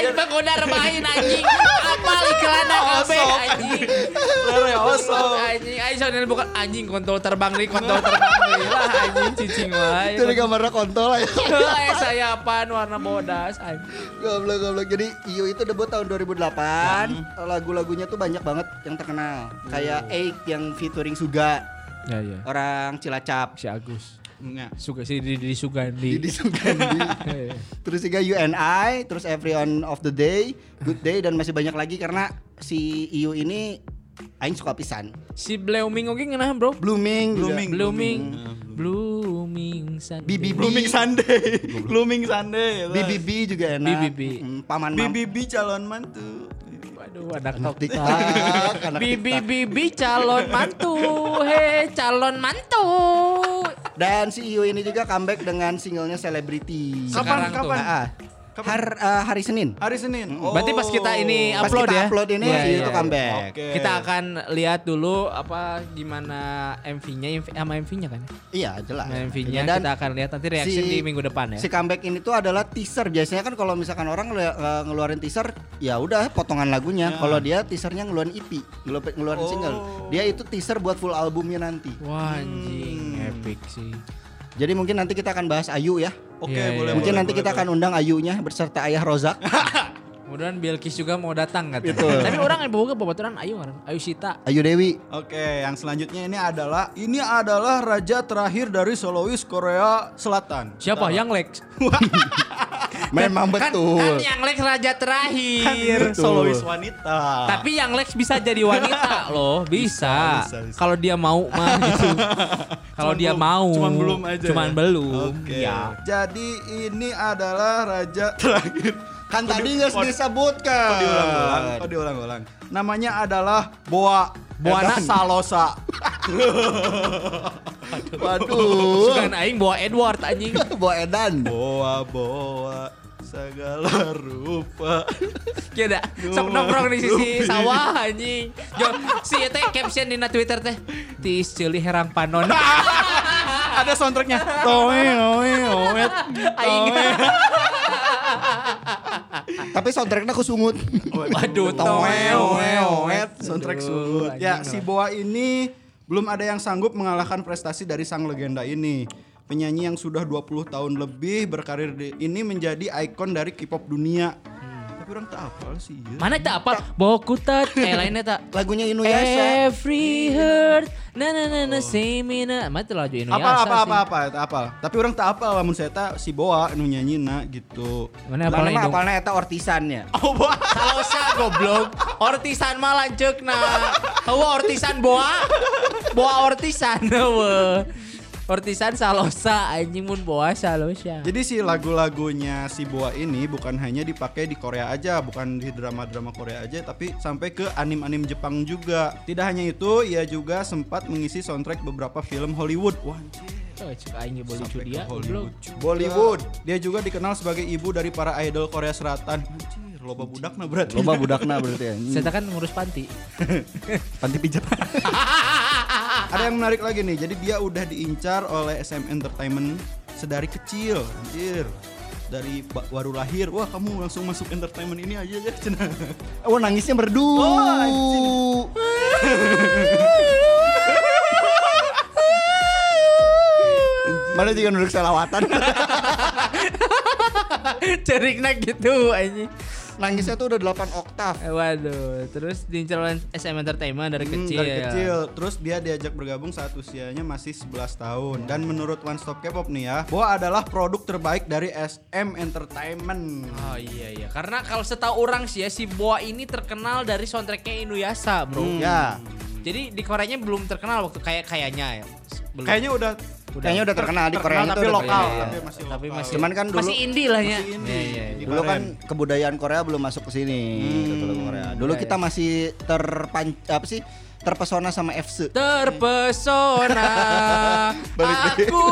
Anjing pengguna rebahin anjing. Apal iklannya obeng anjing. Lere osong. Anjing, ayo soalnya bukan anjing kontol terbang nih, kontol terbang nih lah anjing cicing wae. Jadi gambarnya kontol ya. aja. Eh saya apaan warna bodas anjing. *laughs* Goblok goblok. Jadi Iyo itu debut tahun 2008. Hmm. Lagu-lagunya tuh banyak banget yang terkenal. Kayak Eight yang featuring Suga, Ya ya. orang Cilacap. Si Agus. Nggak. Suga si Didi Sugandi. Didi Sugandi. Eh, *laughs* terus juga You and I, terus Every On of the Day, Good Day dan masih banyak lagi karena si Iyo ini aing suka pisan. *laughs* Si Bleuming oke ngenahan bro. Blooming, juga. Blooming. Blooming. Blooming Sunday. BBB. Blooming Sunday. Blooming Sunday. lah. BBB juga enak. BBB. Mm, Paman Mam. BBB calon mantu. Waduh Anak anak tok TikTok, *laughs* anak Bibi bibi calon mantu. He calon mantu. Dan si Iyo ini juga comeback dengan singlenya Celebrity. Sekarang tuh. kapan? Ah, ah. Kapan? Ah. Har- eh, hari Senin. Hari Senin. Oh. Berarti pas kita ini Oh. Pas upload kita ya. upload ini si Iya, Iyo iya, tuh iya. comeback. Oke. Kita akan lihat dulu apa gimana MV-nya MV sama MV-nya kan. ya? Iya jelas. Sama MV-nya Dan kita akan lihat nanti reaction si- di minggu depan ya. Si comeback ini tuh adalah teaser. Biasanya kan kalau misalkan orang ngelu- eh, ngeluarin teaser, ya udah potongan Ya. lagunya. Kalau dia teasernya ngeluarin EP, ngelu- ngeluarin Oh. single. Dia itu teaser buat full albumnya nanti. Wah Hmm. anjing epic sih. Jadi mungkin nanti kita akan bahas Ayu ya. Oke, Iya, iya. boleh. Mungkin boleh, nanti boleh, kita akan undang Ayunya beserta Ayah Rozak. *laughs* Kemudian Bilkis juga mau datang katanya. Betul. Tapi orang yang bawa kebetulan Ayu orang Ayu Sita. Ayu Dewi. Oke, yang selanjutnya ini adalah ini adalah raja terakhir dari Solois Korea Selatan. Siapa? Yang Lex. Memang Kan, kan betul. yang Lex raja terakhir. Ini Solois wanita. Tapi yang Lex bisa jadi *laughs* wanita loh, bisa. bisa, bisa. Kalau dia mau *laughs* mah gitu. Kalau Cuman dia belum- mau. cuman belum aja. Cuman ya? belum. Oke. Iya. Jadi ini adalah raja terakhir. Kan Kok tadi di- nggak kok- disebutkan. kok diulang-ulang, kok diulang-ulang. Namanya adalah Boa Boana Edan. Salosa. Waduh. Bukan aing bawa Edward anjing. *laughs* Bawa Edan. Boa Boa segala rupa. Kira Iya sok nongkrong di sisi sawah anjing. Jo, si teh caption di Twitter teh. Tis ceuli herang panon. *laughs* Ada soundtracknya. Toe oe oet. Aing. ya. Tapi soundtracknya aku sungut. *laughs* Waduh, eh, Toeoeoet eh. soundtrack sulut. Aduh, Ya, si anjing. Boa ini belum ada yang sanggup mengalahkan prestasi dari sang legenda ini. Penyanyi yang sudah 20 tahun lebih berkarir di, ini menjadi ikon dari K-pop dunia. Tapi orang tak hafal sih. iya. Mana tak apa? *laughs* Bokutat. Eh lainnya tak. Lagunya Anu ya, Eh, Inuyasha. Every hurt, na na na na, same in a. Mana tuh lagu Oh. Inuyasha Apa apa sih? apa apa tak hafal. Tapi orang tak hafal lamun saya tak si Boa nu nyanyina gitu. Mana apa Lalu lagi mah *laughs* dong? apalnya Eta Ortisannya. Oh, boa. Salosa goblok. Ortisan mah lanceuk na. Hawa ortisan boa. Boa ortisan *laughs* hawa. Ortisan salosa anjing mun boa salosa. Jadi si lagu-lagunya si Boa ini bukan hanya dipakai di Korea aja, bukan di drama-drama Korea aja, tapi sampai ke anim-anim Jepang juga. Tidak hanya itu, ia juga sempat mengisi soundtrack beberapa film Hollywood. Wah, anjir. Oh, cek aing bolu Sampai ke dia goblok. Hollywood. Bollywood. Dia juga dikenal sebagai ibu dari para idol Korea Selatan. Anjir, loba budak nah berarti. Loba budakna berarti ya. Saya kan ngurus panti. Panti pijat. *laughs* Ada yang menarik lagi nih, jadi dia udah diincar oleh SM Entertainment sedari kecil, anjir. Dari ba- baru lahir, wah kamu langsung masuk entertainment ini aja ya, Cenah. *laughs* Oh nangisnya merdu. *laughs* Mana juga nuruk selawatan. *laughs* Cerikna gitu anjing. Nangisnya tuh udah 8 oktav. Eh, Waduh, terus diincar oleh SM Entertainment dari Hmm, kecil. dari kecil. Terus dia diajak bergabung saat usianya masih 11 tahun. Dan menurut One Stop K-pop nih ya, Boa adalah produk terbaik dari SM Entertainment. Oh iya iya, karena kalau setahu orang sih ya si Boa ini terkenal dari soundtracknya Inuyasha, bro. Hmm. Hmm. Ya. Jadi di Koreanya belum terkenal waktu kayak kayaknya ya. Belum. Iya, Kayaknya udah Kayaknya udah terkenal di Korea terkenal itu tapi udah lokal, terkenal. tapi masih lokal. tapi masih Cuman kan dulu- masih indie lah ya. Masih indie. Iya, iya, iya. Dulu kan kebudayaan Korea belum masuk ke sini. gitu loh, Korea. Dulu kita masih terpan apa sih? Terpesona sama FC. *laughs* Terpesona aku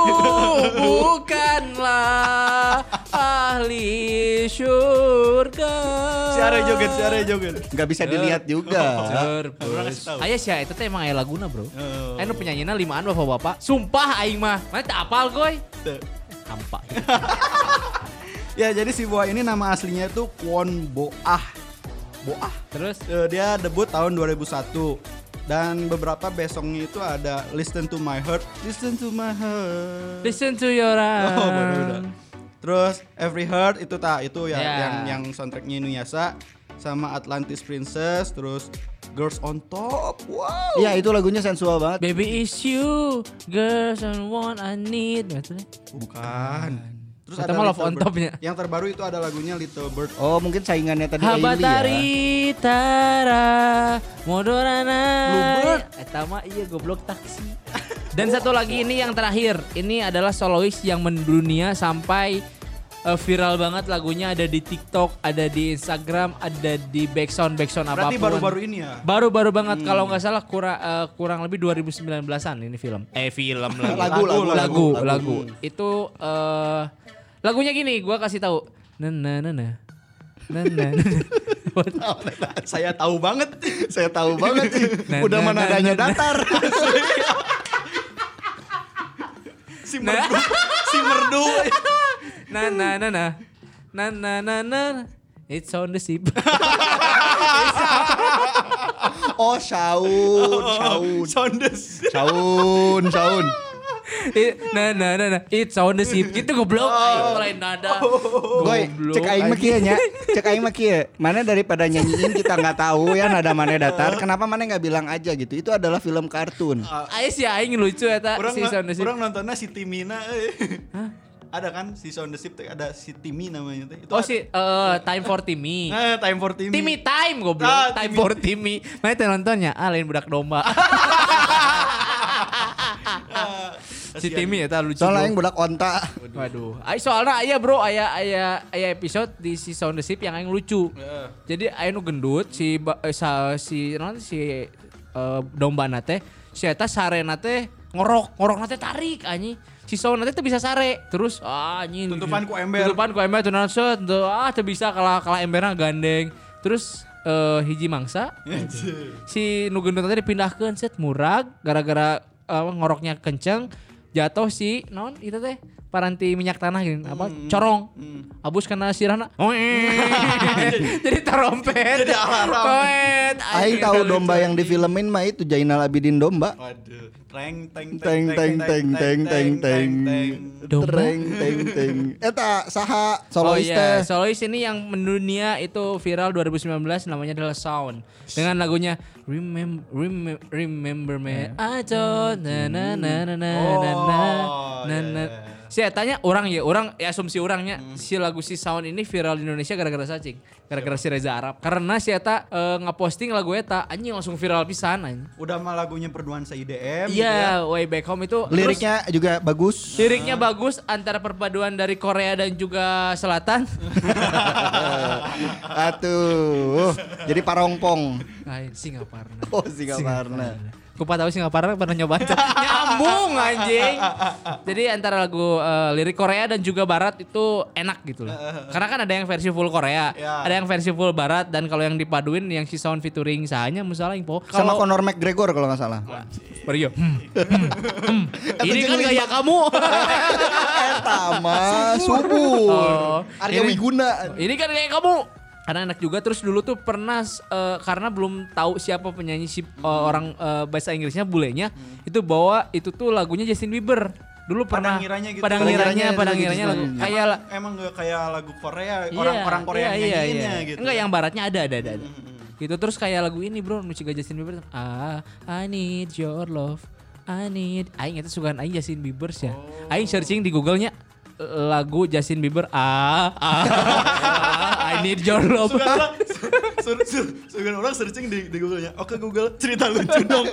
bukanlah ahli syurga. Siare joget, siare joget. Gak bisa dilihat juga. Terpesona. Ayah sih, itu teh emang ayah laguna bro. Oh. Ayo penyanyinya limaan bapak-bapak. Sumpah aing mah. Mana tak apal koy. Tuh. Hampa. Ya jadi si Boa ini nama aslinya itu Kwon Boah. Boah. Terus Eh, dia debut tahun 2001 dan beberapa besoknya itu ada Listen to My Heart, Listen to My Heart. listen to your heart. Oh, baru udah. Terus Every Heart itu tak itu yang Ya. yang yang soundtracknya Inuyasha sama Atlantis Princess terus Girls on Top. Wow. Iya itu lagunya sensual banget. Baby is you, girls and one I need. Betul. Bukan. Terus Kata mah Love Little on Bird. Top-nya. Yang terbaru itu ada lagunya Little Bird. Oh mungkin saingannya tadi Ailey ya. Habatari Tara Modorana Bluebird. Etama iya goblok taksi Dan satu lagi ini yang terakhir Ini adalah solois yang mendunia sampai eh, viral banget lagunya ada di TikTok, ada di Instagram, ada di backsound backsound Berarti apapun. baru-baru ini ya. Baru-baru banget kalau nggak salah kurang kurang lebih 2019-an ini film. Eh film lagi. Lagu, lagu, lagu, lagu, lagu. lagu. Itu eh, lagunya gini, gua kasih tahu. Nah, Na na na na. Na na. na. nah, What? *laughs* Saya tahu banget. Saya *laughs* tahu banget sih. Nah, Udah nah, mana nah, adanya nah, nah. datar. si nah. merdu. si merdu. eh, Na na na na. Na na na na. nah, It's on the ship. *laughs* *laughs* Oh Shaun, Shaun, Soundes. Shaun, Shaun. It- nah, na na na na. It's on the ship. Gitu goblok. Ayo mulai nada. Oh. Goy, Goblok, cek aing mah anjing. kieu nya. Cek aing mah kieu. Mana daripada nyanyiin kita nggak tahu ya nada mana datar. Kenapa mana nggak bilang aja gitu? Itu adalah film kartun. Ayo sih aing lucu eta Orang Nah, si na- on the ship. orang nontonnya si Timina euy. Ada kan si Sound the Ship teh ada si Timi namanya teh. Itu Oh ada- si eh, time for Timmy. Eh, time for Timmy. Timmy time goblok. Ah, time Timmy. for Timmy. Mana teh nontonnya? Ah lain budak *laughs* domba. *laughs* Ah, si Timmy eta lucu. Soalnya aing bro. budak onta. Waduh. Ay, soalnya aya bro, aya aya aya episode di si Sound the Ship yang aing lucu. Jadi aing nu gendut si ba- eh, sa, si non si eh, domba nate si eta sare nate ngorok ngorok nate tarik anjing si Sound nate teu bisa sare terus ah anjing Tutupan ku ember. Tutupan depan ku ember tuh set tuh ah teu bisa kalah kalah emberna gandeng terus eh, hiji mangsa si nu gendut tadi dipindahkeun set murag gara-gara eh, ngoroknya kenceng jatuh si non itu teh paranti minyak tanah gini apa corong abus kena sirana *laughs* jadi tarompet jadi alarm. Aing tahu domba yang difilmin mah itu Jainal Abidin domba. Waduh. Teng teng Teng teng teng teng teng teng. Domba? Teng teng teng. Eta saha Oh solois iya, teh. solois ini yang mendunia itu viral 2019 namanya adalah Sound dengan lagunya Remember Remember, remember Iya. Me I Don't na na na na na na na Oh, na iya, na. iya. Hmm. Saya tanya orang ya, orang ya asumsi orangnya si lagu si Sound ini viral di Indonesia gara-gara sacing, gara-gara si Reza Arab. Karena si Eta eh, ngeposting lagu Eta anjing langsung viral pisan anjing. Udah mah lagunya perduan IDM gitu ya. Ah. Iya, Way Back Home itu terus- Liriknya juga bagus. Liriknya bagus antara perpaduan dari Korea dan juga *laughs* Selatan. Atuh. Jadi parongpong. Lain Singaparna. Oh Singaparna. Kupa tahu Singaparna pernah nyoba nyambung anjing. Jadi antara lagu eh, lirik Korea dan juga barat itu enak gitu loh. Karena kan ada yang versi full Korea, Ya. ada yang versi full barat dan kalau yang dipaduin yang si sound featuring sahanya musalah info. Sama Kalau Conor McGregor kalau nggak salah. Mario. Hmm, hmm, hmm. Ini kan gaya kamu. Pertama subuh. Oh, Arya ini- Wiguna. Ini kan kayak kamu. Karena enak juga terus dulu tuh pernah eh, karena belum tahu siapa penyanyi si eh, orang eh, bahasa Inggrisnya bulenya itu bawa itu tuh lagunya Justin Bieber. Dulu Padang pernah ngiranya gitu. Padang Padang ngiranya, ngiranya Padang dulu ngiranya gitu lagu sebenarnya. kayak la- Emang gak kayak lagu Korea, iya, orang-orang Korea iya, yang iya, nyanyiinnya iya. gitu. Mm-hmm, Enggak yang baratnya ada ada ada. ada. Gitu terus kayak lagu ini bro, musik Justin Bieber. Ah, I need your love. I need. Aing itu sukaan aing Justin Bieber ya. Oh. Aing searching di Google-nya lagu Justin Bieber ah, ah, ah, I need your love. Sugan orang, sur- sur- sugan orang searching di, di Google-nya. Oke Google, cerita lucu dong.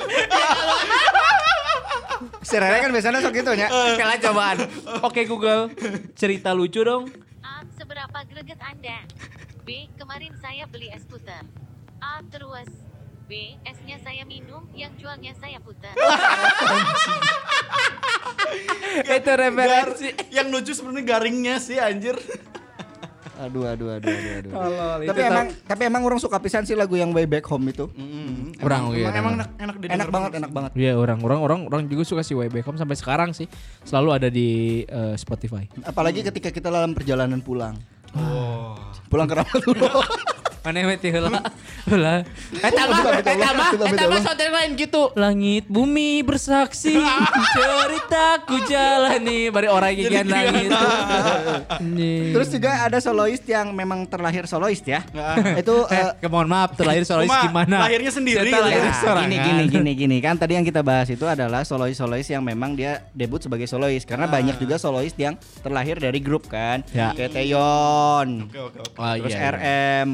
Si Rere kan biasanya sok gitu ya. Kalah cobaan. Oke Google, cerita lucu dong. A. Seberapa greget Anda? B. Kemarin saya beli es puter. A. Terus. B. Esnya saya minum, yang jualnya saya puter. Itu referensi. Gar- yang lucu sebenarnya garingnya sih anjir. Aduh aduh aduh aduh. aduh. Tolol, itu tapi tau. emang tapi emang orang suka pisan sih lagu yang Way Back Home itu. emang, Orang, iya, emang, emang enak. enak enak, didengar enak banget sih. enak banget Iya orang orang orang orang juga suka si YBCom sampai sekarang sih selalu ada di eh, Spotify. apalagi ketika kita dalam perjalanan pulang Oh. pulang ke *laughs* Ramadullah Mana yang mati Eh, heula? Heula. Eta mah, eta mah, eta mah sonten Eh, lain gitu. Langit bumi *laughs* bersaksi ceritaku jalani bari orang gigian langit. terus juga ada soloist yang memang terlahir soloist ya itu eh, eh, ke- mohon maaf terlahir soalnya Cuma gimana? lahirnya sendiri Ternyata gitu. lahirnya ya. Nah, sorangan. gini gini gini gini kan tadi yang kita bahas itu adalah solois-solois yang memang dia debut sebagai solois karena banyak juga solois yang terlahir dari grup kan Ah. Ya. kayak Taeyeon Oke oke oke. Oh, terus iya, iya. RM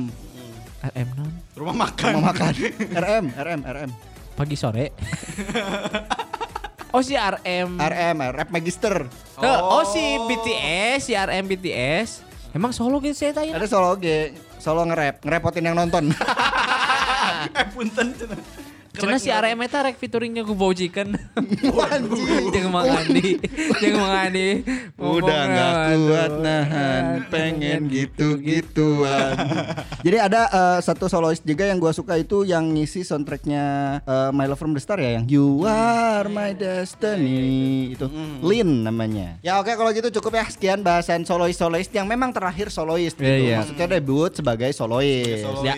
RM non Rumah makan. mau makan RM RM RM pagi sore. Oh si RM. RM rap magister Eh, Oh. si BTS, si RM BTS. Emang solo gitu saya tanya. ada solo G solo nge-rap ngerepotin yang nonton *laughs* Eh punten. cenah. Ya. Cina si Keren, RM itu rek featuringnya gue bau *laughs* chicken. Anjing. Jangan Mang Andi, jangan Mang Andi. Udah Ngomong nggak amat. kuat nahan, pengen gitu-gituan. Jadi ada eh, satu soloist juga yang gua suka itu yang ngisi soundtracknya eh, My Love from the Star ya yang You Are My Destiny itu Lin namanya. Hmm. Ya oke kalau gitu cukup ya sekian bahasan soloist-soloist yang memang terakhir soloist gitu. Iya, iya. Maksudnya debut sebagai soloist. Solois. Ya.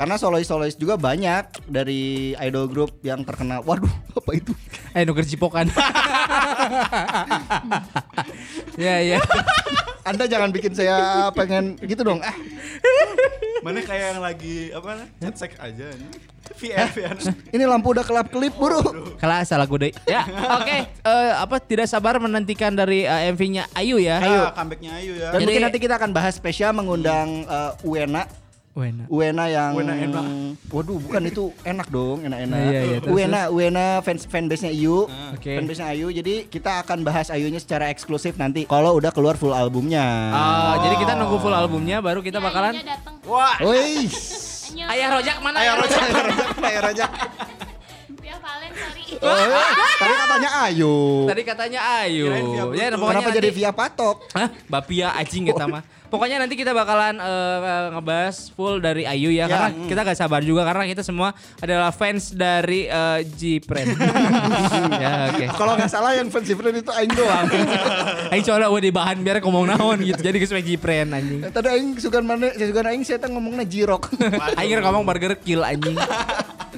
Karena soloist-soloist juga banyak dari idol group yang terkenal. Waduh, *laughs* apa itu? Eh nuker cipokan. Ya ya. Anda jangan bikin saya pengen gitu dong. Ah, Mana kayak yang lagi apa nah, chat sek aja ini. VR VR. ini lampu udah kelap-kelip, buru. Kalah salah gue deh. Ya, oke. Eh, apa tidak sabar menantikan dari eh, MV-nya Ayu ya. Ayo Ah, comebacknya Ayu ya. Dan Jadi- mungkin nanti kita akan bahas spesial mengundang eh, Uena Wena. Uena yang Uena enak. Waduh, bukan itu enak dong, enak-enak. Iya, iya, terus, Uena, Uena fans fanbase-nya Ayu. Oke. Fanbase-nya Ayu. Jadi kita akan bahas Ayunya secara eksklusif nanti kalau udah keluar full albumnya. Ah, Jadi kita nunggu full albumnya baru kita bakalan Wah. Wih, Ayah Rojak mana? Ayah rojak. kayak raja. Ya Valen, sorry. Oh, tadi katanya Ayu. Tadi katanya Ayu. Kirain via Bluetooth. Ya, pokoknya Kenapa jadi nanti- via patok? Hah? Bapia anjing Oh. ya mah. Pokoknya nanti kita bakalan eh, ngebahas full dari Ayu ya, karena hmm. kita gak sabar juga karena kita semua adalah fans dari eh, Jipren. *laughs* ya oke. Kalau nggak salah yang fans Jipren itu Aing *laughs* doang. Ayo coba udah bahan biar ngomong naon gitu. Jadi kesuai Jipren anjing. Tadi Aing sugan mana? Sugan Aing saya ngomongnya Jirok. Ayo nggak ngomong burger kill anjing.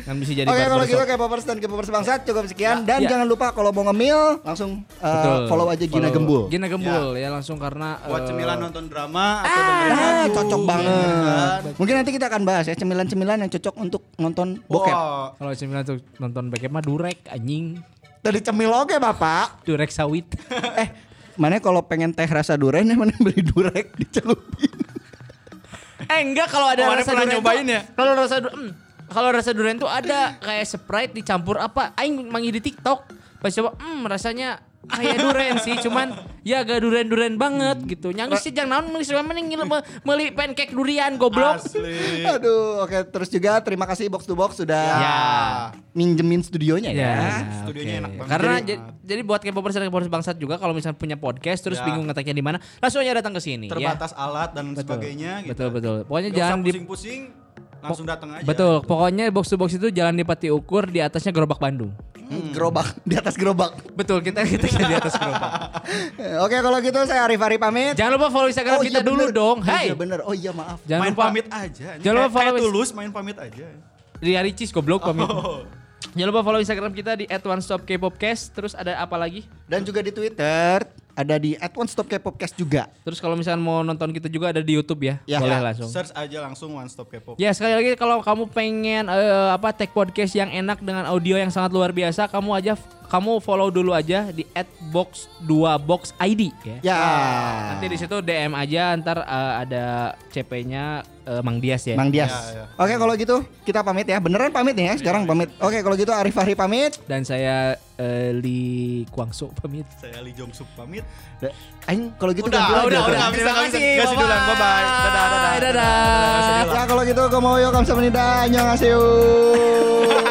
Kan bisa jadi Oke kalau barbershop. gitu K-popers dan K-popers bangsat cukup sekian dan Ya. jangan lupa kalau mau ngemil langsung uh, Betul. follow aja Gina Follow. Gembul. Gina Gembul ya, langsung karena Buat eh, cemilan nonton drama atau dengerin Ah, lagu. cocok banget. Kan? Mungkin nanti kita akan bahas ya cemilan-cemilan yang cocok untuk nonton bokep. Wah. kalau cemilan tuh nonton bokep mah durek anjing. Dari cemil oke, Bapak. Durek sawit. eh, mana kalau pengen teh rasa durian *laughs* mana beli durek dicelupin. Eh enggak kalau ada Oh, ada rasa pernah durian nyobain tuh- ya? Kalau rasa du- hmm, kalau rasa durian tuh ada kayak Sprite dicampur apa? Aing mangi di TikTok pas coba hmm rasanya kayak durian sih cuman ya agak durian-durian banget gitu. Nyangis sih jangan naon meuli mending ngilep me- meuli pancake durian goblok. Asli. Iya. Aduh, oke terus juga terima kasih Box to Box sudah Ya. minjemin studionya ya. studionya oke. enak banget. Iya, kan? Karena Jadi- jadi, jadi buat K-popers dan K-popers bangsat juga kalau misalnya punya podcast terus Ya. bingung ngeteknya di mana, langsung aja datang ke sini ya. terbatas alat dan sebagainya gitu. Betul betul. Pokoknya Nggak jangan usah di Oh, pusing-pusing, langsung datang aja. Betul, pokoknya box to box itu jalan di Pati Ukur di atasnya Gerobak Bandung. Hmm, Gerobak *laughs* di atas gerobak. Betul, kita *laughs* kita di atas *laughs* gerobak. Eh, Oke, kalau gitu saya Arif Ari pamit. Jangan lupa follow Instagram kita iya, bener. dulu dong. Oh, iya, Hai. bener. Oh iya maaf. Jangan main lupa pamit aja. Jangan lupa Kayak- kayak follow- tulus main pamit aja. di hari Cis goblok pamit. Oh. *laughs* *laughs* Jangan lupa follow Instagram kita di @onestopkpopcast. Terus ada apa lagi? Dan juga di Twitter ada di @onestopkpopcast juga. Terus kalau misalnya mau nonton kita juga ada di YouTube ya. Ya, Boleh ya. langsung. Search aja langsung One Stop K-pop. Ya sekali lagi kalau kamu pengen eh, apa tag podcast yang enak dengan audio yang sangat luar biasa, kamu aja kamu follow dulu aja di @box2boxid ya. Ya. Ah, Nanti di situ DM aja ntar eh, ada CP-nya eh, Mang Dias ya. Mang Dias. Ya, ya. Oke kalau gitu kita pamit ya. Beneran pamit nih ya sekarang pamit. Oke kalau gitu Arif Fahri pamit. Dan saya eh, Li Kuangso pamit. Saya Lee Jong Suk pamit. Da- Aing kalau gitu Udah, ganti lagi. udah, udah, Ganti. nggak bisa, nggak bisa. Nggak sih dulang, bye-bye. Dadah, dadah, dadah. dadah. Ya kalau gitu gue mau yo kamsahamnida. Annyeonghaseyo. *laughs* 그